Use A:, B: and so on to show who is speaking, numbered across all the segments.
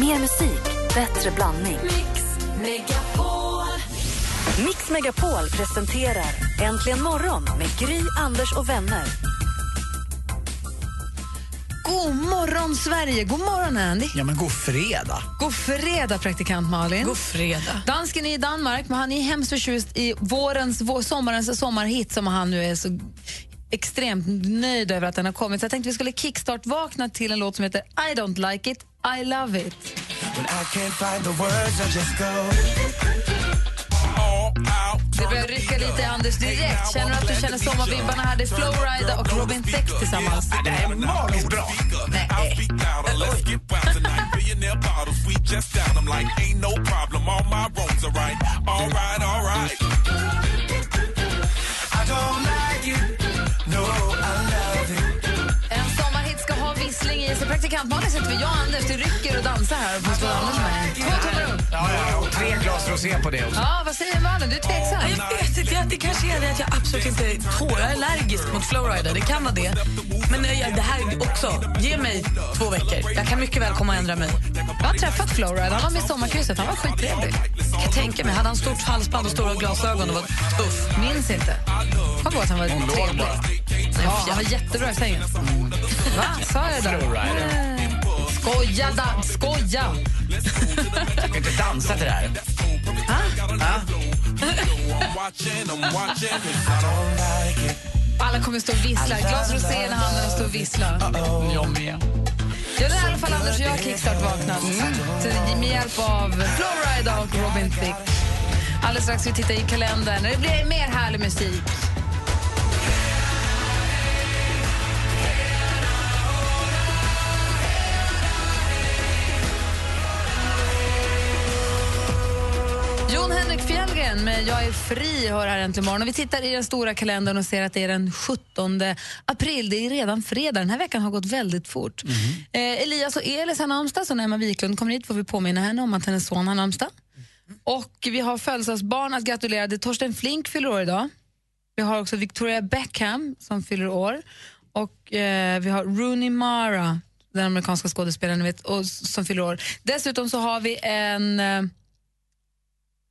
A: Mer musik, bättre blandning.
B: Mix Megapol.
A: Mix Megapol presenterar Äntligen morgon med Gry, Anders och vänner.
C: God morgon, Sverige! God morgon, Andy!
D: Ja, men god fredag.
C: God fredag, praktikant Malin!
B: God fredag.
C: Dansken är i Danmark, men han är hemskt förtjust i vårens, vår, sommarens sommarhit som han nu är så extremt nöjd över att den har kommit. Så jag tänkte vi skulle kickstart-vakna till en låt som heter I don't like it, I love it. Det börjar rycka lite i Anders direkt. Känner du att du känner sommarvibbarna här? Det är Flowrida och Robin Thicke tillsammans.
E: Det här är magiskt bra.
C: Nej. En sommarhit ska ha vissling i sig. Praktikant-Malin sitter vid jag och Anders. Det rycker och dansar här. Och påstår Anders med. Två tummar upp.
D: Ja, ja, och tre glas rosé på det också.
C: Ja, vad säger Malin? Du är tveksam.
B: Jag vet inte, jag- det kanske är det att jag absolut inte tål. Jag är allergisk mot Flowrider, det kan vara det. Men eh, jag, det här också, ge mig två veckor. Jag kan mycket väl komma och ändra mig.
C: Jag har träffat Flowride. Han var med i sommarkrysset. Han var skittrevlig.
B: Jag kan tänka mig, hade han stort halsband och stora glasögon och var tuff?
C: Minns inte. Har gått. Han var trevlig. Ja, han var jättebra i sängen. Va? Sa jag det? Nej. Skoja, Dan. Skoja!
D: Jag kan inte dansa till det här.
C: Alla kommer stå och vissla. Glas rosé i handen och stå och vissla.
D: Jag med.
C: Ja, det är i alla fall Anders och jag kickstart-vaknat Till- med hjälp av Flowrida och Robin Thicke. Alldeles strax ska vi titta i kalendern. Det blir mer härlig musik. Jon Henrik Fjällgren med Jag är fri hör här äntligen morgon. Och vi tittar i den stora kalendern och ser att det är den 17 april. Det är redan fredag. Den här veckan har gått väldigt fort. Eh, Elias och Elis har namnsdag, så när Emma Wiklund kommer hit får vi påminna henne om att hennes son har namnsdag. Och vi har födelsedagsbarn att gratulera. Det är Torsten Flink fyller år idag. Vi har också Victoria Beckham som fyller år. Och eh, vi har Rooney Mara, den amerikanska skådespelaren ni vet, och, s- som fyller år. Dessutom så har vi en... Eh,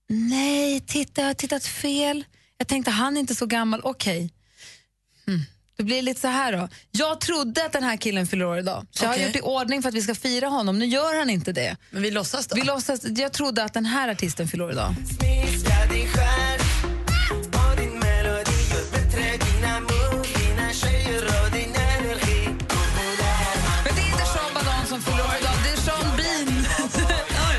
C: nej, titta, jag har tittat fel. Jag tänkte han är inte så gammal. Okej. Hmm. Det blir lite så här då. Jag trodde att den här killen fyller år idag. Så jag har
B: Okej.
C: gjort i ordning för att vi ska fira honom. Nu gör han inte det.
B: Men vi låtsas då.
C: Vi låtsas, jag trodde att den här artisten fyller år idag. Men det är inte Sean Banan som fyller år idag, det är Sean Bean.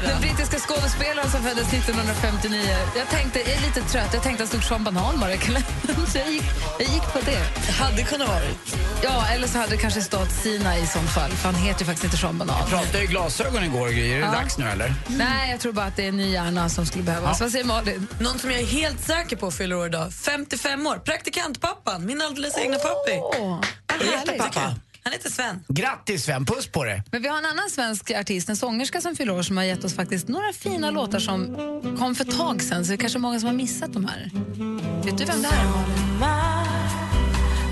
C: Den brittiska skådespelaren som föddes 1959. Jag, tänkte, jag är lite trött, jag tänkte att det stod Sean Banan bara i kalendern. Så jag gick, jag gick på det.
B: Det hade kunnat vara det.
C: Ja, eller så hade det kanske stått Sina i sånt fall, för han heter ju faktiskt inte Sean Banan.
D: Pratade ju glasögon igår, Gry. Är det dags nu eller?
C: Nej, jag tror bara att det är en ny hjärna som skulle behövas. Vad säger Malin?
B: Någon som jag är helt säker på fyller år idag, 55 år, praktikantpappan, min alldeles egna pappi.
C: Åh,
B: Han
C: vad
B: heter
C: härligt.
B: pappa. Han heter Sven.
D: Grattis Sven, puss på dig.
C: Men vi har en annan svensk artist, en sångerska som fyller år som har gett oss faktiskt några fina låtar som kom för ett tag sedan, så det är kanske många som har missat de här. Vet du vem det är?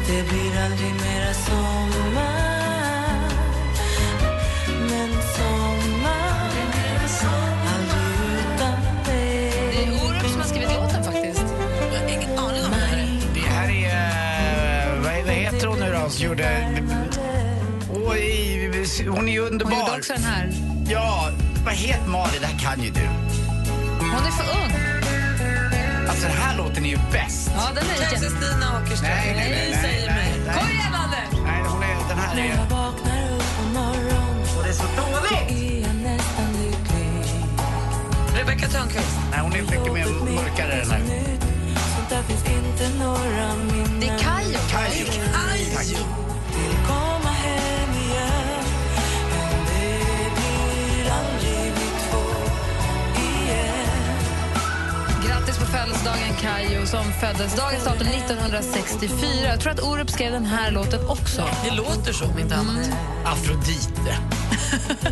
B: Det blir aldrig mera sommar Men sommar Aldrig utan dig
C: Det är Orup som har skrivit låten faktiskt.
B: Jag har ingen aning om det här är.
D: Det här är... eh, Vad vad heter hon nu då som gjorde... Oj, hon är ju
C: Hon gjorde
D: underbar.
C: också den här.
D: Ja, vad heter Malin? Det här kan ju du.
C: Hon är för ung.
D: Alltså den här låten är ju bäst.
C: Ja, den är
B: Kanske
C: jätte...
B: Stina Åkerström.
D: Nej, nej, nej, nej,
B: säger
D: nej,
B: mig.
D: nej.
B: Kom igen, Anders!
D: Nej, hon är, den här är... Och det är så dåligt!
B: Rebecca Törnqvist.
D: Nej, hon är mycket mer mörkare den här.
C: Det är Kayo.
D: Kayo.
B: Aj!
C: Grattis på födelsedagen Kayo som föddes dagens datum 1964. Jag tror att Orup skrev den här låten också.
B: Det låter så, om inte annat.
D: Afrodite.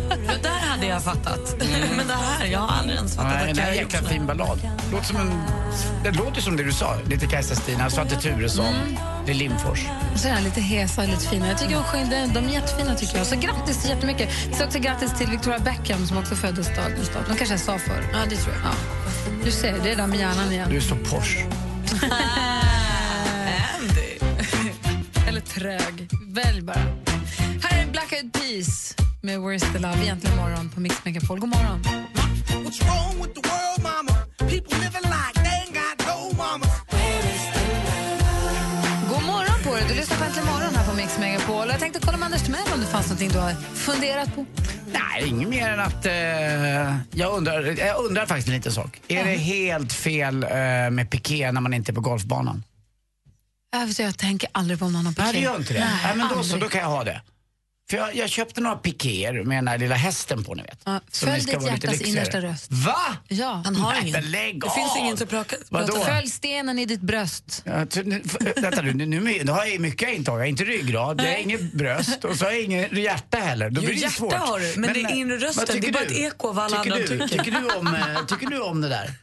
B: Det där hade jag fattat.
E: Mm.
B: Men det här, jag har aldrig ens fattat
D: Nej,
B: att
D: det här är
B: jag
D: en jäkla fin ballad. Låter som en, det låter som det du sa, lite Kajsa Stina, Svante Turesson.
E: vid Limfors.
C: Så är han lite hes och lite fin. Jag tycker hon sjöng den. De är jättefina tycker jag. Så grattis så jättemycket. Så också grattis till Victoria Beckham som också föddes dagens datum. De kanske jag sa förr. Ja, det tror jag. Du ser, det är där med hjärnan igen.
E: Du är så posh.
B: Andy.
C: Eller trög. Välj bara. Här är Black Eyed Peas med Where's the Love egentligen morgon på Mix Megapol. God morgon.
F: What's wrong with the world, mama? People living like they ain't got no mama.
C: God morgon på dig. Du lyssnar på Äntligen morgon här på Mix Megapol. Jag tänkte kolla med Anders Timell om det fanns någonting du har funderat på.
E: Nej, inget mer än att eh, jag, undrar, jag undrar faktiskt en liten sak. Är det helt fel eh, med piké när man inte är på golfbanan?
C: Jag, jag tänker aldrig på om någon har
E: Nej, det
C: parkerat.
E: gör inte det. Nej, men då så, då kan jag ha det. För jag, jag köpte några pikéer med den här lilla hästen på, ni vet.
C: Ja,
E: Som
C: följ
E: ska
C: ditt
E: vara lite
C: hjärtas
E: lyxigare.
C: innersta röst.
E: Va?
C: Ja.
B: Han har
E: Nej,
B: ingen.
E: men lägg
B: Det finns
E: av.
B: ingen som prakar.
E: Vadå?
B: pratar-
C: Följ stenen i ditt bröst.
E: Ja, ty- nu- f- eh, vänta nu, nu, nu, nu har jag mycket jag inte har. Jag har inte ryggrad, jag har inget bröst och så har jag inget hjärta heller. Då
B: Jo,
E: blir det ju
B: hjärta
E: svårt. eh,
B: har du, men det är inre rösten.
E: vad tycker
B: Det är bara
E: du?
B: ett eko av alla
E: tycker
B: andra
E: du,
B: tycker.
E: tycker. du om, eh, tycker du om det där?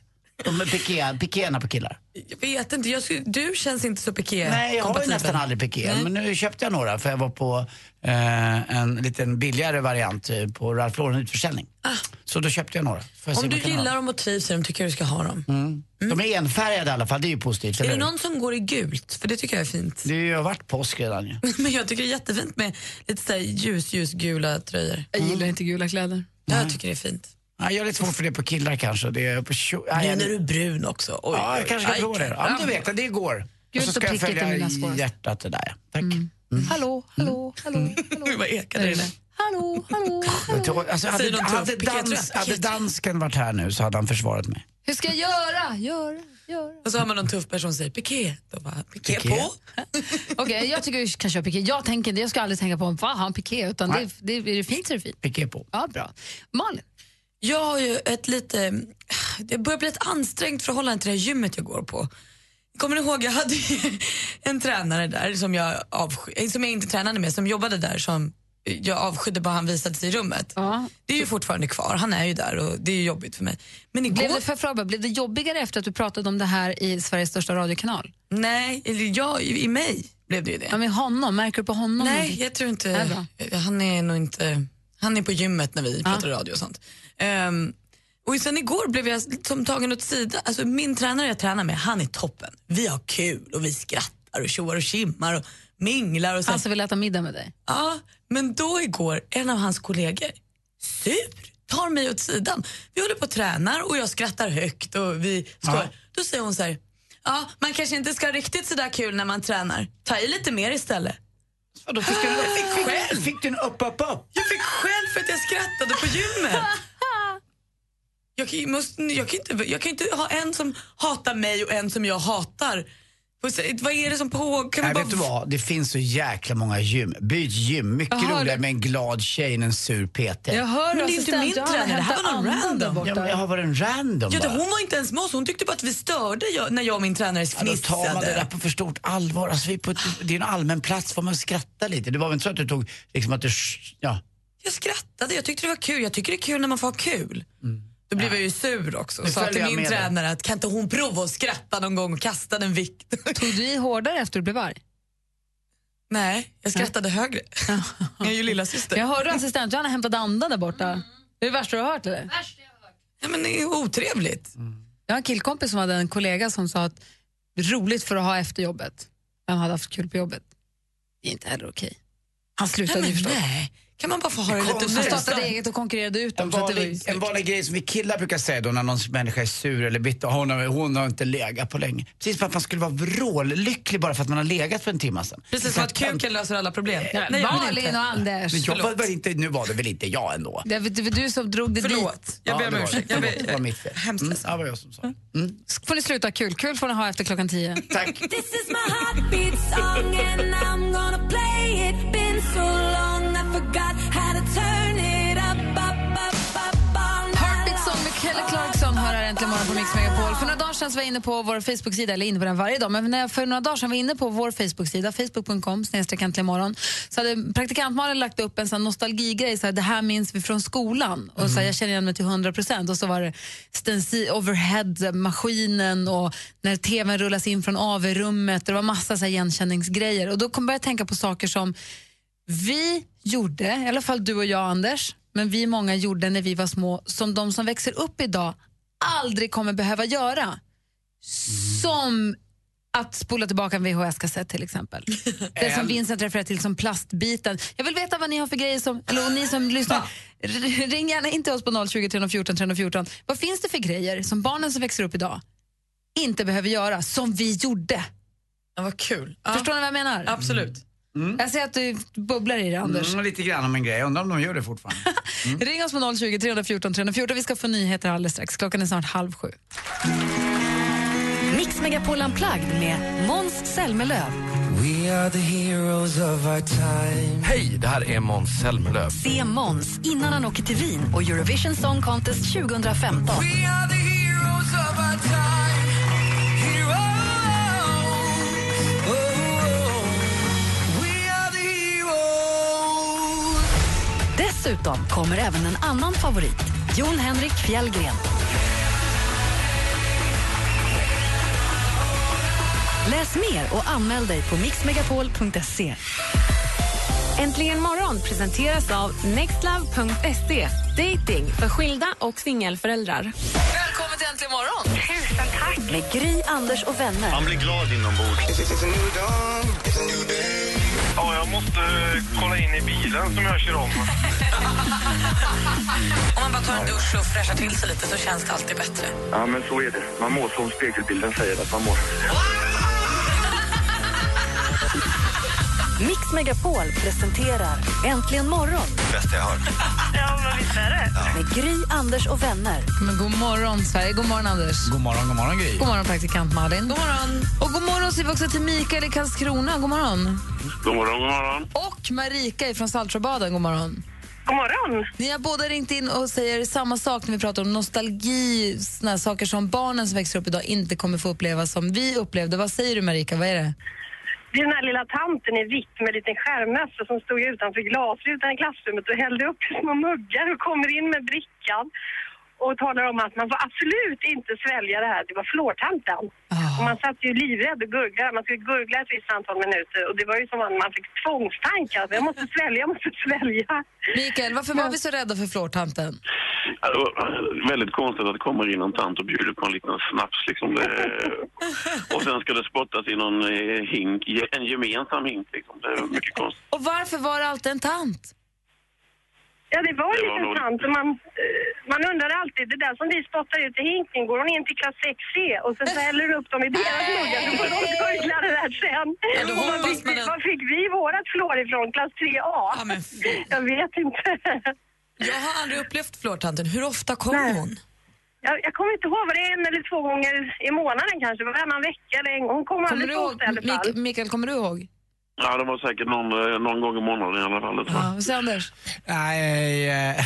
E: Om piké- pikéerna på killar?
B: Jag vet inte, jag skulle, du känns inte så piké
E: Nej, jag har ju
B: kompatibel.
E: nästan aldrig piké. Men nu köpte jag några för jag var på eh, en liten billigare variant eh, på Ralph Lauren utförsäljning. Så då köpte jag några. Får jag se
B: Ah. Om
E: vad
B: du
E: jag kan ha Mm.
B: gillar dem och trivs i dem tycker jag du ska ha dem.
E: dem. De är enfärgade i alla fall, det är ju positivt.
B: Är
E: eller
B: det
E: hur?
B: någon som går i gult? För det tycker jag är fint.
E: Det har ju varit påsk redan ju.
B: Men jag tycker det är jättefint med lite så här ljus, ljusgula tröjor.
C: Jag gillar inte gula kläder.
E: Mm.
B: Jag tycker det är fint.
E: Ja, jag är lite svårt för det på killar kanske. Det är på tjo-
B: Nu
E: Nej,
B: när du är brun också. Oj,
E: Ja,
B: oj,
E: jag kanske
B: aj,
E: kan prova det. Ja, men
B: karamba.
E: du vet, jag, det går.
C: Gult
E: och så
C: och
E: ska jag
C: prickigt är
E: följa
C: mina svåraste.
E: hjärtat det där. ja. Tack.
C: Hallå, hallå, hallå,
B: Oj,
C: hallå.
B: vad ekade
C: Där
E: Mm.
B: det
C: är det.
B: där.
C: Hallå, hallå,
E: Jag
C: hallå.
E: tror- Alltså, hade,
B: Säger de
E: hade,
B: piket, tror
E: dans,
B: jag.
E: hade
B: Piket.
E: dansken varit här nu så hade han försvarat mig.
C: Hur ska jag göra? Göra, göra.
B: Och så har man någon tuff person som säger piké. Då bara, piké,
E: Piké.
B: på.
C: Okej, jag tycker vi kan köra piké. Jag tänker inte, jag ska aldrig tänka på om fan har han piké, utan det,
E: Nej.
C: det, är det fint så är det fint.
E: Piké på.
C: Ja, bra. Malin,
B: Jag har ju ett lite, det börjar bli ett ansträngt förhållande till det här gymmet jag går på. Kommer ni ihåg, jag hade ju en tränare där som jag, avsky, eh, som jag inte tränade med, som jobbade där som jag avskydde bara han visade sig i rummet.
C: Ja.
B: Det är ju fortfarande kvar, han är ju där och det är ju jobbigt för mig. Men igår,
C: blev det, för fråga, blev det jobbigare efter att du pratade om det här i Sveriges största radiokanal?
B: nej, eller jag, i i mig blev det ju det.
C: Ja, med honom, märker du på honom?
B: Nej, jag tror
C: Nej,
B: inte.
C: bra.
B: Han är nog inte... Han är på gymmet när vi pratar radio och sånt. Ehm, och sen igår blev jag som tagen åt sidan. Alltså min tränare jag tränar med, han är toppen. Vi har kul och vi skrattar och tjoar och tjimmar och minglar och så. här.
C: Han som vill äta middag med dig.
B: Ja, men då igår, en av hans kollegor, sur, tar mig åt sidan. Vi håller på och tränar och jag skrattar högt och vi skojar.
E: Ja.
B: Då säger hon så här, ja, man kanske inte ska ha riktigt så där kul när man tränar. Ta i lite mer istället.
E: Ja, då fick, du, fick, fick, fick du en upp, upp, upp?
B: Jag fick skäll för att jag skrattade på gymmet. Jag kan, ju- måste, jag, kan inte, jag kan inte ha en som hatar mig och en som jag hatar. Och så- Vad är det som pågår? Kan vi
E: Nej,
B: bara...
E: vet du vad? Det finns så jäkla många gym. Byt gym. Mycket
C: Jaha,
E: roligare
C: det-
E: med en glad tjej än en sur PT.
C: Jag
E: Ja,
C: hör
B: Men det är inte
C: assistent
B: min
C: Johanna
B: tränare, det här
C: hämta
B: var någon
C: andan där
B: random.
C: borta.
E: men jag har varit en random
B: Ja, det,
E: bara.
B: hon var inte ens med oss. Hon tyckte bara att vi störde jag, när jag och min tränare
E: Ja, då tar man det där
B: fnissade.
E: på för stort allvar. Alltså, vi är på ett, det är en allmän plats, får man skratta lite. Det var väl inte så att du tog, liksom att du, ja,
B: Jag skrattade, jag tyckte det var kul. Jag tycker det är kul när man får ha kul. Då blev jag ju sur också och
E: Mm. Nu
B: sa
E: följer
B: till
E: jag
B: min
E: med dig.
B: tränare att kan inte hon prova att skratta någon gång och kasta den vikt?
C: Tog du i hårdare efter du blev arg?
B: Nej, jag skrattade högre. jag är ju lillasyster.
C: Jag hörde assistent Johanna hämtade andan där borta. Det är det värsta du har hört eller?
B: Nej, men det är ju otrevligt.
C: Jag har en killkompis som hade en kollega som sa att roligt för att ha efter jobbet. Han hade haft kul på jobbet. Det är inte heller okej. Han slutade ju
B: Nej,
C: förstås.
B: men nej. Kan man bara få ha det lite
E: konstigt.
C: Han
B: nöjsamt?
C: startade eget och konkurrerade ut
E: En
C: dem. liksom? Så att det var ju
E: vanlig, en
C: snyggt.
E: vanlig grej som vi killar brukar säga då när någon människa är sur eller bitter, "Ah, hon har, hon har inte legat på länge. Precis för att man skulle vara vrållycklig bara för att man har legat för en timme sedan.
B: Precis som att kuken löser alla problem. Nej, jag vill
C: Malin
B: inte.
C: och Anders.
E: Men jag var väl inte, nu var det väl inte jag ändå?
C: Det var, det var du som drog det dit.
B: Förlåt, jag ber
E: Ja,
B: om
E: det var det.
B: ursäkt. Jag
E: Förlåt, Det var
B: ber...
E: mitt fel.
B: Hemskt alltså.
E: Mm,
B: ledsen.
E: ja, det var jag som sa det.
C: får ni sluta ha kul. Kul får ni ha efter klockan tio.
E: Tack.
D: This is my heartbeat song and I'm gonna play it. Been so long I forgot how to turn it up, up, up, up, all night
C: Heartbeat Song med Kelly Clarkson hör här äntligen morgon på Mix Megapol. För några dagar sedan så var jag inne på vår Facebook-sida, eller inne på den varje dag, men när jag för några dagar sedan var inne på vår Facebook-sida, facebook.com snedstreck äntligen morgon, så hade praktikant Malin lagt upp en sån här nostalgigrej, så här, det här minns vi från skolan. Och så här, jag känner igen mig till 100 procent. Och så var det stencil, overhead-maskinen och när tvn rullas in från AV-rummet. Det var massa så här, igenkänningsgrejer. Och då kom jag att tänka på saker som vi gjorde, i alla fall du och jag Anders, men vi många gjorde när vi var små som de som växer upp idag aldrig kommer behöva göra. Som att spola tillbaka en VHS-kassett till exempel. Det som Vincent refererar till som plastbiten. Jag vill veta vad ni har för grejer som, eller och ni som lyssnar, r- ring gärna in till oss på 020 314 314. Vad finns det för grejer som barnen som växer upp idag inte behöver göra, som vi gjorde?
B: Ja, vad kul. Ja, Mm.
C: Förstår ni vad jag menar?
B: Absolut.
C: Jag ser att du bubblar i det Anders.
E: Mm, lite grann om en grej. Undrar om de gör det fortfarande.
C: Mm. Ring oss på 020 314 314. Vi ska få nyheter alldeles strax. Klockan är snart halv sju.
A: Mix Megapol Unplugged med Måns Zelmerlöw.
G: Hej, det här är Måns Zelmerlöw.
A: Se Måns innan han åker till Wien och Eurovision Song Contest 2015. Dessutom kommer även en annan favorit, Jon Henrik Fjällgren. Läs mer och anmäl dig på mixmegapol.se.
H: Äntligen morgon presenteras av nextlove.se. Dating för skilda och singelföräldrar.
C: Välkommen till Äntligen morgon!
A: Med Gry, Anders och vänner.
I: Man blir glad inombords. Ja, jag måste eh, kolla in i bilen som jag kör om.
B: Om man bara tar en dusch och fräschar till sig lite så känns det alltid bättre.
I: Ja, men så är det. Man mår som spegelbilden säger att man mår.
A: Mix Megapol presenterar Äntligen morgon
G: Bästa jag hört.
A: med Gry, Anders och vänner.
C: Men god morgon, Sverige. God morgon, Anders.
E: god morgon, god morgon Gry.
C: God morgon, praktikant Malin. God morgon. Och god morgon säger vi också till Mikael i Karlskrona. God morgon.
I: God morgon, god morgon.
C: Och Marika från Saltsjöbaden. God morgon.
J: God morgon!
C: Ni har båda ringt in och säger samma sak när vi pratar om nostalgi, såna här saker som barnen som växer upp idag inte kommer få uppleva som vi upplevde. Vad säger du Marika? Vad är det?
J: Det är den här lilla tanten i vitt med en liten skärmmössa som stod utanför glasrutan i klassrummet och hällde upp små muggar och kommer in med brickan och talar om att man får absolut inte svälja det här. Det var flårtanten.
E: Ah.
J: Och man satt ju livrädd och gurglade. Man skulle gurgla ett visst antal minuter och det var ju som att man fick tvångstankar. Jag måste svälja, jag måste svälja.
C: Mikael, varför var vi så rädda för flårtanten?
I: Ja, det var väldigt konstigt att det kommer in en tant och bjuder på en liten snaps. Liksom. Det, och sen ska det spottas i någon eh, hink, en gemensam hink. Liksom. Det är mycket konstigt.
C: Och varför var det alltid en tant?
J: Ja, det var en
I: Det var
J: liten
I: nog-
J: tant och man, eh, man undrar alltid, det där som vi spottar ut i hinken, går hon in till klass 6C och sen så häller hon upp dem i deras muggar så får de gurgla det där sen.
B: Ja, då
J: Och var,
B: hoppas
J: fick,
B: man att-
J: var fick vi vårat flår ifrån? Klass 3A?
B: Ja, men fy.
J: Jag vet inte.
B: Jag har aldrig upplevt flårtanten. Hur ofta kom hon?
J: Jag, jag kommer inte ihåg, var det en eller två gånger i månaden kanske? Varannan vecka eller en gång? Hon kom
C: Kommer
J: aldrig
C: du
J: på
C: ihåg,
J: oss i alla fall.
C: Mik- Mikael, kommer du ihåg?
I: Ja, det var säkert någon, eh, någon gång i månaden i alla fall. det tror jag.
C: Ja, vad säger Anders?
E: Nej, eh,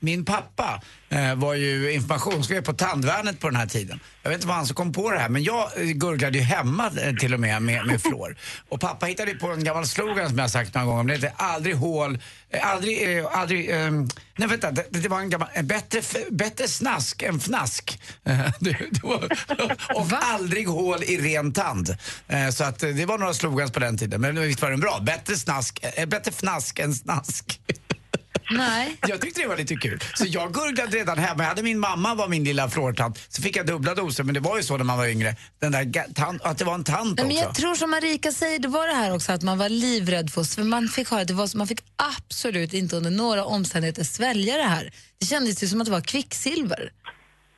E: min pappa eh, var ju informationschef på Tandvärnet på den här tiden. Jag vet inte vad han som kom på det här, men jag eh, gurglade ju hemma eh, till och med med, med flår. Och pappa hittade ju på en gammal slogan som jag har sagt några gånger, men det heter aldrig hål, eh, aldrig, eh, aldrig, eh, nej vänta, det, det var en gammal, eh, bättre, f- bättre snask än fnask. Eh, det, det var, och aldrig hål i ren tand. Eh, så att eh, det var några slogans på den tiden, men visst var den bra? Bättre snask, eh, bättre fnask än snask.
C: Nej.
E: Jag tyckte det var lite kul. Så jag gurglade redan hemma. Jag hade min mamma var min lilla flårtant. Så fick jag dubbla doser, men det var ju så när man var yngre. Den där ga- tan- att det var en tant
C: Nej,
E: också.
C: men jag tror som Marika säger, det var det här också att man var livrädd för oss. För man fick höra att det var så, man fick absolut inte under några omständigheter svälja det här. Det kändes ju som att det var kvicksilver.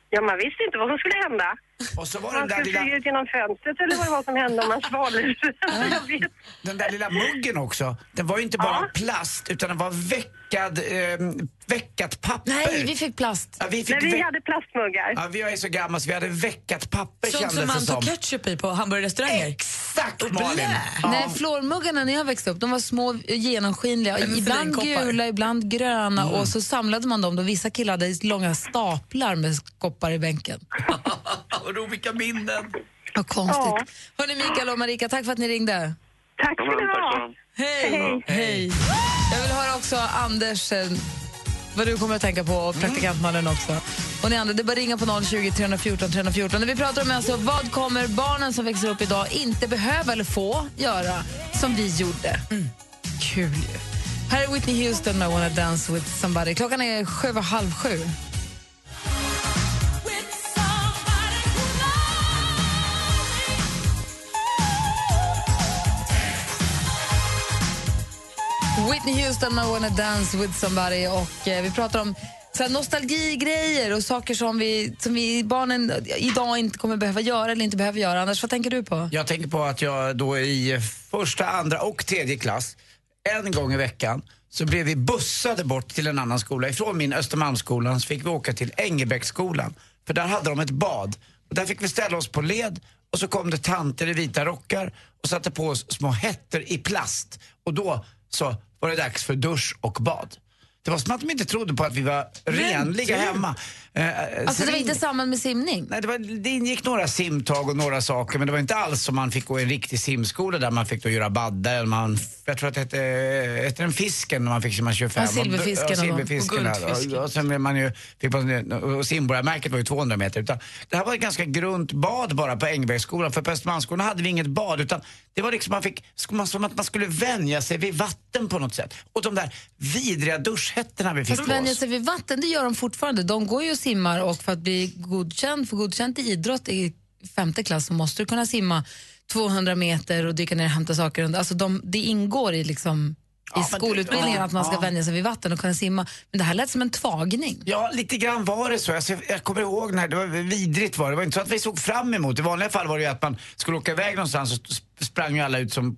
J: Ja, man visste inte vad som skulle hända.
E: Och så var den
J: Man
E: där,
J: skulle flyga
E: lilla,
J: ut genom fönstret eller vad det var som hände om man svalde. Jag vet
E: den där lilla muggen också. Den var ju inte bara plast, utan den var veckad, eh, veckat papper.
C: Nej, vi fick plast.
E: ja, vi fick
J: Men vi
E: veck-
J: hade plastmuggar.
E: ja, vi är så gamla så vi hade veckat papper
B: Sånt som
E: kändes det
B: man
E: som.
B: tar ketchup i på hamburgerrestauranger.
E: Exakt Malin!
B: blä.
E: Ja.
C: Nej, flormuggarna när jag växte upp, de var små, genomskinliga.
B: Eller
C: Ibland
B: finkoppar.
C: gula, ibland gröna och så samlade man dem. Då vissa killar hade långa staplar med koppar i bänken.
E: Ro, vilka minnen.
C: Vad konstigt. Hörni, Mikael och Marika, tack för att ni ringde.
J: Tack
E: Ja, men, tack så.
C: Hej.
E: Hej.
C: Hej. Jag vill höra också Anders, eh, vad du kommer att tänka på och praktikantmannen också. Och ni andra, det är bara att ringa på 020 314 314. När vi pratar om alltså, vad kommer barnen som växer upp idag inte behöva eller få göra som vi gjorde? Kul ju. Här är Whitney Houston med I wanna dance with somebody. Klockan är sju och halv sju. Whitney Houston med I wanna dance with somebody. Och, eh, vi pratar om så här, nostalgigrejer och saker som vi, som vi barnen idag inte kommer behöva göra eller inte behöver göra. Anders, vad tänker du på?
E: Jag tänker på att jag då i första, andra och tredje klass, en gång i veckan, så blev vi bussade bort till en annan skola. Ifrån min Östermalmsskolan så fick vi åka till Engelbrektsskolan. För där hade de ett bad. Och där fick vi ställa oss på led och så kom det tanter i vita rockar och satte på oss små hätter i plast. Och då så var det dags för dusch och bad. Det var som att de inte trodde på att vi var renliga hemma. Eh,
C: Alltså, det var
E: sen-
C: inte samman med simning?
E: Nej, det, var, det ingick några simtag och några saker men det var inte alls som man fick gå i en riktig simskola där man fick då göra badda eller man, jag tror att det hette, hette den fisken när man fick simma 25.
C: Ja, silverfisken
E: och, och,
C: och-
E: silverfisken
C: och
E: ja.
C: guldfisken.
E: och, och sen blev man ju, fick man, och simborgarmärket var ju 200 meter. Utan, det här var ett ganska grunt bad bara på Engbergsskolan för på Östermalmsskolan hade vi inget bad utan det var liksom man fick, som som att man skulle vänja sig vid vatten på något sätt. Och de där vidriga duschhättorna vi fick
C: Fast
E: på
C: vänja
E: oss.
C: sig vid vatten, det gör de fortfarande. De går ju och simmar och för att bli godkänd, för godkänt i idrott i femte klass så måste du kunna simma 200 meter och dyka ner och hämta saker. under. Alltså de, det ingår i, liksom, i
E: men det-
C: skolutbildningen
E: ja,
C: att man ska
E: ja.
C: vänja sig vid vatten och kunna simma. Men det här lät som en tvagning.
E: Ja, lite grann var det så. Alltså, jag- jag kommer ihåg när det var vidrigt var det. Det var inte så att vi såg fram emot. I vanliga fall var det ju att man skulle åka iväg någonstans och sp- sprang ju alla ut som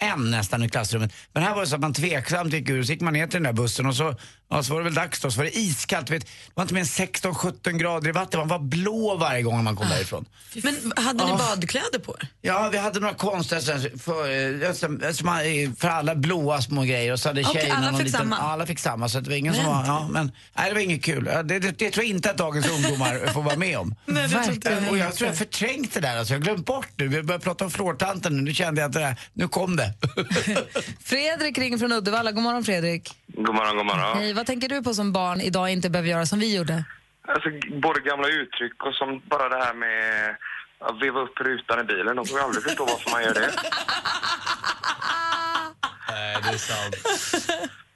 E: en nästan i klassrummet. Men här var det så att man tveksamt gick ur och så gick man ner till den där bussen och så, ja, så var det väl dags då. Så var det iskallt. du Vet, det var inte mer än 16-17 grader i vatten. Man var blå varje gång man kom därifrån.
B: Men hade ni
E: Ja.
B: badkläder på er?
E: Ja, vi hade några konstiga sådana här för, eh, som- som man- eh, för alla blåa små grejer och så hade
B: Okej,
E: tjejerna
B: alla
E: någon
B: fick
E: liten,
B: samma.
E: ja, Alla fick samma så att det var ingen som
B: Men.
E: var, ja, men nej, det var inget kul. Ja, Det, det, det tror jag inte att dagens ungdomar får vara med om.
B: Nej, det tror inte jag
E: Verkligen. och jag tror jag förträngt det där alltså. Jag har glömt bort det. Vi började prata om flårtanten nu. Nu kände jag att det där, nu kom det.
C: Fredrik ringer från Uddevalla. God morgon Fredrik.
K: God morgon, god morgon.
C: Hej, vad tänker du på som barn idag inte behöver göra som vi gjorde?
K: Alltså, både gamla uttryck och som bara det här med att veva upp rutan i bilen. De kommer ju aldrig förstå varför man gör det.
E: Nej, det är sant.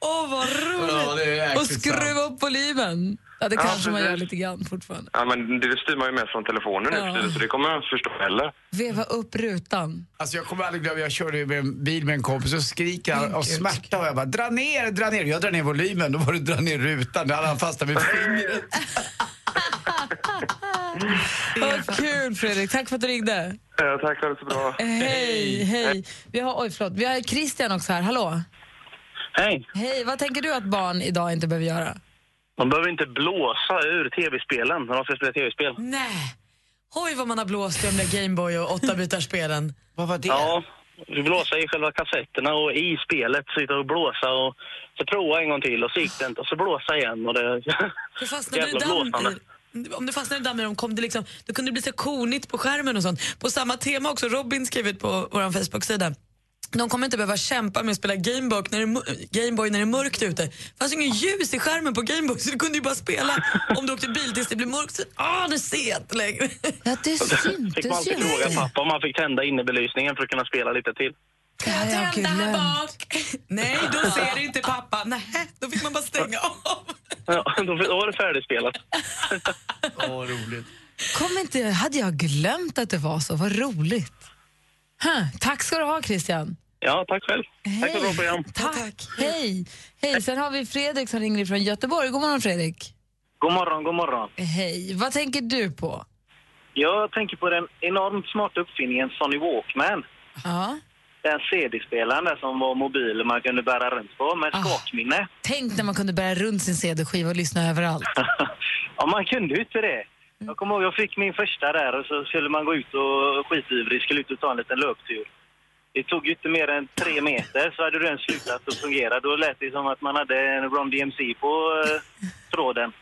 C: Åh, vad
K: Ja, det är
C: roligt! och
K: verkligen
C: skruva upp volymen. Ja, det
K: Ja,
C: kanske man
K: precis.
C: gör lite grann fortfarande.
K: Ja, men det styr man ju med från telefonen nu
C: Ja.
K: för tiden, så det kommer jag inte förstå heller.
C: Veva upp rutan.
E: Alltså jag kommer aldrig glömma, jag körde ju med en bil med en kompis och skriker han av smärta och jag bara dra ner, dra ner. Jag drar ner volymen, då var det dra ner rutan. Då hade han fastnat med fingret.
C: Vad kul Fredrik, tack för att du ringde.
K: Eh, tack, ha det så bra.
C: Hej, hej. Vi har, oj, förlåt. Vi har Christian också här, hallå.
L: Hej.
C: Hej, vad tänker du att barn idag inte behöver göra?
L: De behöver inte blåsa ur tv-spelen när de ska spela tv-spel.
B: Nej. Oj vad man har blåst i de där Gameboy och åtta bitar spelen.
E: Vad var det?
L: Ja, du blåsa i själva kassetterna och i spelet sitta och blåsa och så prova en gång till och så gick det inte och så blåsa igen och det...
B: För fastnade du damm i, om du fastnade i damm i dem kom det liksom, då kunde det bli så konigt på skärmen och sånt. På samma tema också, Robin skrev ut på vår Facebook-sida. De kommer inte behöva kämpa med att spela Gameboy när, det är mu- Gameboy när det är mörkt ute. Det fanns ju ingen ljus i skärmen på Gameboy så du kunde ju bara spela om du åkte bil tills det blev mörkt. Så, ah, nu ser jag inte längre.
C: Ja, det
L: Fick man alltid fråga pappa om han fick tända innebelysningen för att kunna spela lite till.
B: Kan jag tända här bak? Nej, då ser inte pappa. Nej, då fick man bara stänga av.
L: Ja, då var det färdigspelat.
E: Åh, roligt.
C: Kom inte, hade jag glömt att det var så, vad roligt. Huh. Tack ska du ha Christian.
L: Ja, tack själv. Tack för ett bra program.
C: Tack. Hej. Hej, sen har vi Fredrik som ringer från Göteborg. God morgon Fredrik.
L: God morgon, god morgon.
C: Hej, vad tänker du på?
L: Jag tänker på den enormt smarta uppfinningen Sony Walkman.
C: Ja.
L: Den CD-spelaren där som var mobil man kunde bära runt på med skakminne.
C: Tänk när man kunde bära runt sin CD-skiva och lyssna överallt.
L: Ja, man kunde ju inte det. Jag kommer ihåg, jag fick min första där och så skulle man gå ut och skitivrig, skulle ut och ta en liten löptur. Det tog ju inte mer än tre meter så hade du den slutat att fungera. Då lät det som att man hade en Ron DMC på eh, tråden.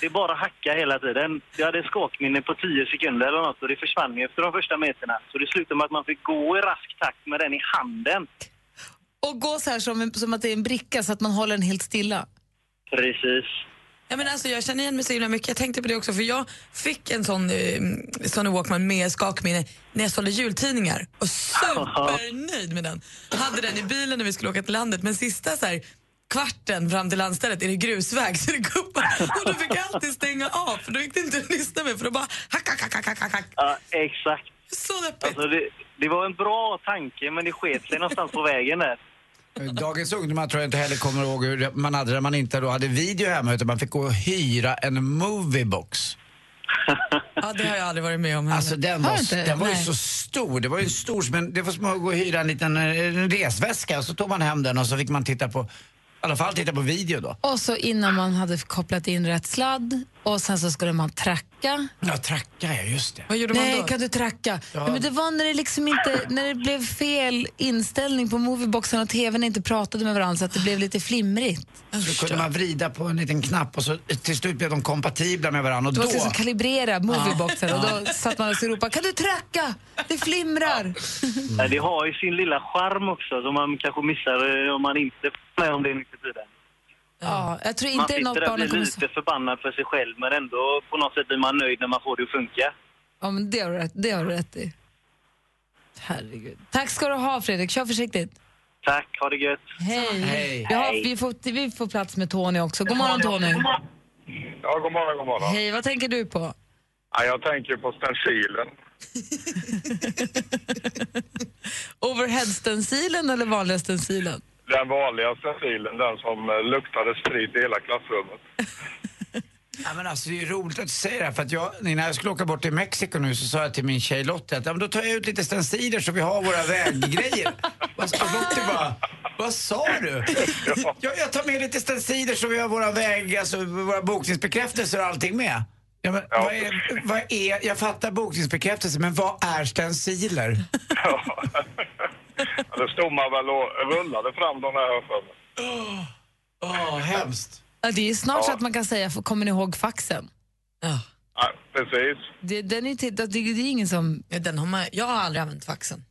L: Det bara hacka hela tiden. Jag hade skakminne på 10 sekunder eller något och det försvann ju efter de första meterna. Så det slutade med att man fick gå i rask takt med den i handen.
C: Och gå så här som, som att det är en bricka så att man håller den helt stilla.
L: Precis.
B: Ja, men alltså, jag känner igen mig så himla mycket. Jag tänkte på det också, för jag fick en sån eh, Sony Walkman med skakminne när jag sålde jultidningar. Och supernöjd med den. Hade den i bilen när vi skulle åka till landet, men sista så här, kvarten fram till landstället är det grusväg så det guppar. Och då fick jag alltid stänga av, för då gick det inte att lyssna med, för då bara hack, hack, hack, hack, hack, hack, hack.
L: Ja, exakt.
B: Så
L: alltså, det, det var en bra tanke, men det sket sig någonstans på vägen där.
E: Eh, Dagens ungdomar tror jag inte heller kommer ihåg hur man hade det när man inte då hade video hemma utan man fick gå och hyra en moviebox.
B: Ja, det har jag aldrig varit med om.
E: Alltså den
B: Har
E: var,
B: du inte?
E: den var ju
B: Nej.
E: så stor. Det var ju stor, som en- det var som att gå och hyra en liten eh, en resväska och så tog man hem den och så fick man titta på, i alla fall titta på video då.
C: Och så innan man hade kopplat in rätt sladd och sen så skulle man tracka.
E: Ja, tracka ja, just det.
C: Nej, kan du tracka? Nej, men det var när det liksom inte, när det blev fel inställning på movieboxen och tvn inte pratade med varandra så att det blev lite flimrigt.
E: Så kunde man vrida på en liten knapp och så till slut blev de kompatibla med varandra och
C: Det
E: då...
C: var liksom kalibrera movieboxen och då satt man och så ropade kan du tracka? Det flimrar. Mm.
L: Men det har ju sin lilla charm också som man kanske missar eh, om man inte är med om det nu för tiden.
C: Ja, jag tror
L: Man
C: inte något
L: sitter där och
C: barn
L: blir
C: kommer...
L: lite förbannad för sig själv men ändå på något sätt blir man nöjd när man får det att funka.
C: Ja, men det har du rätt, det har du rätt i. Herregud. Tack ska du ha Fredrik, kör försiktigt.
L: Tack, ha det gött.
C: Hej.
L: Hej.
C: Vi, har, vi, får, vi får plats med Tony också. God morgon Tony.
M: Ja, god morgon, god morgon.
C: Hej, vad tänker du på?
M: Ja, jag tänker på stencilen.
C: Overheadstensilen eller vanliga stencilen?
M: Den vanliga stencilen, den som eh, luktade sprit i hela klassrummet.
E: Ja, men alltså, det är ju roligt att du säger det här, för att jag, när jag skulle åka bort till Mexiko nu så sa jag till min tjej Lottie att ja, men då tar jag ut lite stenciler så vi har våra väggrejer. Alltså, och Lottie bara, vad sa du? Ja, jag tar med lite stenciler så vi har våra väg, alltså våra bokningsbekräftelser och allting med. Ja, men, Vad är, vad är, jag fattar bokningsbekräftelse, men vad är stenciler?
M: Ja, Då stod man väl och rullade fram de där, har jag för mig.
E: Åh, hemskt.
C: Ja, det är snart så
M: Ja.
C: att man kan säga, för, kommer ni ihåg faxen?
M: Ja, precis.
C: Det, den är till, det, det är ingen som...
B: Ja, den har man, jag har aldrig använt faxen.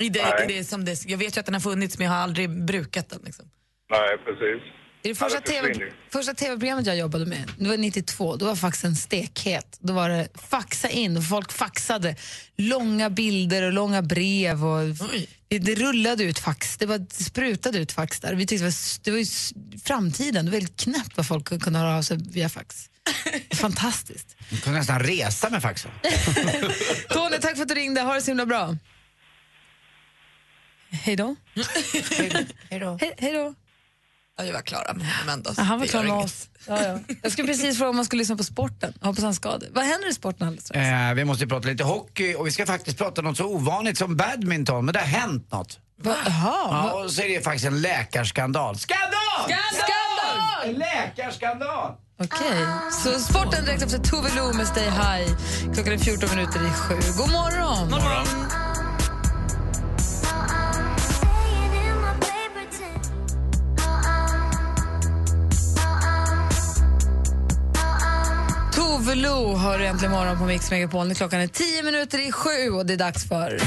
B: I det,
M: Nej.
B: i det som det, jag vet ju att den har funnits, men jag har aldrig brukat den. Liksom.
M: Nej, precis.
C: Det är det första,
M: Ja, försvinner
C: TV,
M: ju.
C: första tv-programmet jag jobbade med, det var 92, då var faxen stekhet. Då var det faxa in och folk faxade långa bilder och långa brev. Och det, det rullade ut fax, det, var, det sprutade ut fax där. Vi tyckte det var, s- det var ju s- framtiden, det var väldigt knäppt vad folk kunde höra av sig via fax. Fantastiskt.
E: Jag kunde nästan resa med faxen.
C: Tony, tack för att du ringde, ha det så himla bra. Hej då.
B: Hej då.
C: Hej då.
B: Ja, vi var klara med honom ändå. så
C: Ja, han var
B: det
C: klar
B: gör
C: med
B: inget.
C: oss. Ja, ja. Jag skulle precis fråga om man skulle lyssna på sporten. Jag hoppas han ska det. Vad händer i sporten alldeles strax?
E: Eh, vi måste ju prata lite hockey och vi ska faktiskt prata något så ovanligt som badminton, men det har hänt något.
C: Va?
E: Ja, och så är det faktiskt en läkarskandal. Skandal!
C: Skandal!
E: Läkarskandal!
C: Okej, så sporten direkt efter Tove Lo med Stay High. Klockan är 14 minuter i sju. God morgon! Tove Lo hör du äntligen morgon på Mix Megapol. Nu Klockan är 10 minuter i sju och det är dags för...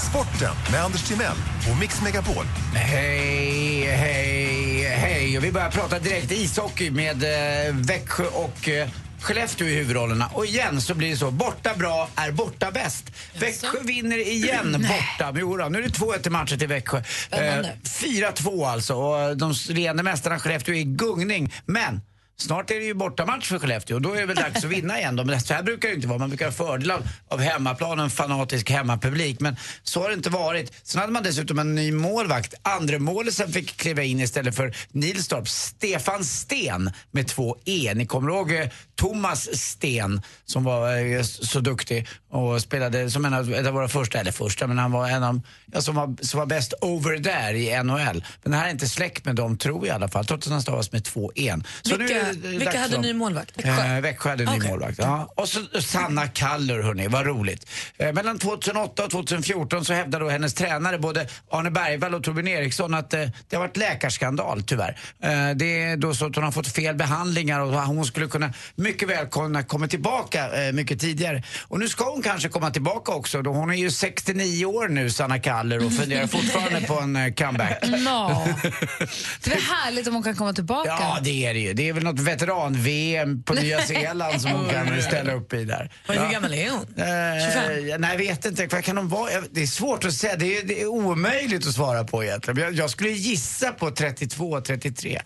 N: Sporten med Anders Timell och Mix Megapol.
E: Hej, hej, hej. Och vi börjar prata direkt ishockey med eh, Växjö och eh, Skellefteå i huvudrollerna. Och igen så blir det så. Borta bra är borta bäst. Växjö vinner igen borta. Jo då, nu är det 2-1 till matchen till Växjö. Eh, 4-2 alltså. Och de regerande mästarna Skellefteå är i gungning. Men Snart är det ju bortamatch för Skellefteå och då är det väl dags att vinna igen då. Men så här brukar det ju inte vara. Man brukar ha fördel av, av hemmaplan och en fanatisk hemmapublik. Men så har det inte varit. Sen hade man dessutom en ny målvakt. Andra målet sen fick kliva in istället för Nilstorp. Stefan Sten med två E. Ni kommer ihåg eh, Thomas Sten som var eh, s- så duktig och spelade som en av, ett av våra första, eller första, men han var en av, ja, som var, som var bäst over där i NHL. Men det här är inte släkt med dem, tror jag i alla fall, trots att han stavas med två E. Så nu är det det är
B: Vilka
E: dags
B: hade
E: för-
B: ny målvakt?
E: Växjö. Växjö hade ny målvakt. Ja. Och så Sanna Kallur, hörni, vad roligt. Eh, mellan 2008 och 2014 så hävdade då hennes tränare, både Arne Bergvall och Torbjörn Eriksson, att eh, det har varit läkarskandal, tyvärr. Eh, det är då så att hon har fått fel behandlingar och hon skulle kunna mycket väl kunna komma tillbaka eh, mycket tidigare. Och nu ska hon kanske komma tillbaka också. Då hon är ju 69 år nu, Sanna Kallur, och funderar fortfarande på en eh, comeback.
C: Nå. Det är härligt om hon kan komma tillbaka.
E: Ja, det är det ju. Det är väl något veteran-VM på Nya Zeeland som hon kan ställa upp i där.
B: Hur
E: Ja.
B: gammal är hon?
E: Eh,
B: 25?
E: nej, jag vet inte. Vad kan de vara? Jag- Det är svårt att säga. Det är, det är omöjligt att svara på egentligen. Jag, jag skulle gissa på 32, 33.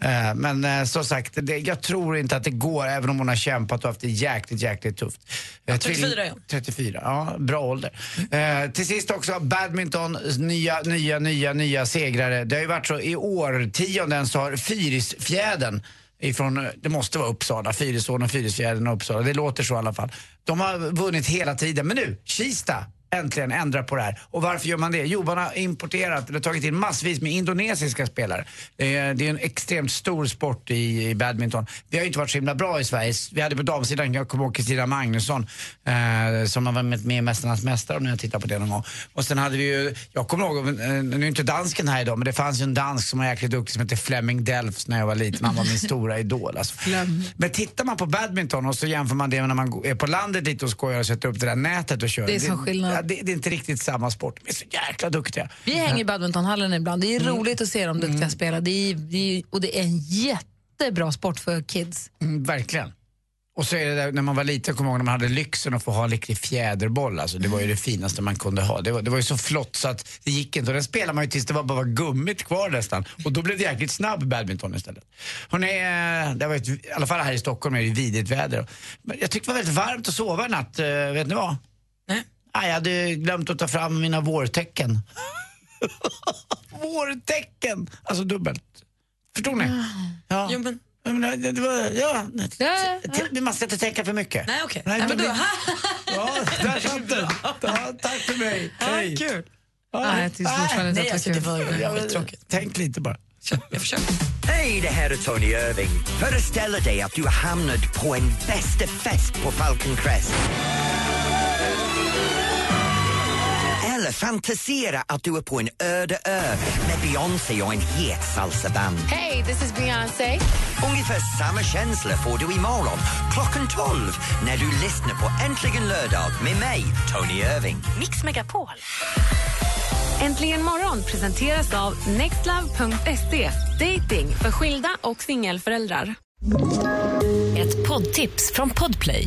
E: Eh, men eh, som sagt, det, jag tror inte att det går, även om hon har kämpat och haft det jäkligt, jäkligt tufft. Eh,
B: 34 är
E: tvilling- 34, ja. Bra ålder. Eh, till sist också badmintons nya, nya, nya, nya segrare. Det har ju varit så i årtionden så har Fyrisfjädern ifrån, eh, det måste vara Uppsala, Fyrisån, Fyrisfjädern och Uppsala. Det låter så i alla fall. De har vunnit hela tiden. Men nu, Kista äntligen ändra på det här. Och varför gör man det? Jo, man har importerat eller tagit in massvis med indonesiska spelare. Eh, Det är, det är en extremt stor sport i, i badminton. Vi har ju inte varit så himla bra i Sverige. Vi hade på damsidan, jag kommer ihåg Kristina Magnusson eh, som har varit med i Mästarnas mästare om ni har tittat på det någon gång. Och sen hade vi ju, jag kommer ihåg, eh, nu är inte dansken här idag, men det fanns ju en dansk som var jäkligt duktig som hette Flemming Delfs när jag var liten. Han var min stora idol alltså. Men tittar man på badminton och så jämför man det med när man går- är på landet lite och skojar och sätter upp det där nätet och kör.
C: Det är sån skillnad.
E: Ja, det, det är inte riktigt samma sport. De är så jäkla duktiga.
C: Vi hänger i badmintonhallen ibland. Det är roligt att se dem duktiga spela. Det är, det är, och det är en jättebra sport för kids.
E: Mm, verkligen. Och så är det där, när man var liten, kommer jag ihåg när man hade lyxen att få ha en riktig fjäderboll. Alltså, det var ju det finaste man kunde ha. Det var, det var ju så flott så att det gick inte. Och den spelade man ju tills det var bara gummit kvar nästan. Och då blev det jäkligt snabb badminton istället. Hörrni, eh, det var ett, i alla fall här i Stockholm är det ju vidigt väder. Men jag tyckte det var väldigt varmt att sova i natt. eh, Vet ni vad? Nej. jag hade glömt att ta fram mina vårtecken. vårtecken! Alltså dubbelt. Förstod ni? Ja. Ah. Jo, men... men det, det var, ja. T- Man ska inte tänka för mycket. Nej, okej.
B: Nej, men du-
E: ja, där satt den. Ja, tack för mig. Hej.
B: kul.
E: Ja.
B: Nej, jag tycker fortfarande inte
E: Nej,
B: att det
E: alltså,
B: var kul.
E: jag- Tänk lite bara.
B: Jag försöker.
O: Hej, det här är Tony Irving. Föreställ dig att du har hamnat på en bästa fest på Falcon Crest. Eller fantisera att du är på en öde ö med Beyoncé och en het salsaband.
P: Hey, this is Beyonce.
O: Ungefär samma känsla får du imorgon klockan 12 när du lyssnar på Äntligen lördag med mig, Tony Irving.
A: Mix Megapol. Äntligen morgon presenteras av nextlove.se. Dating för skilda och singelföräldrar.
Q: Ett poddtips från Podplay.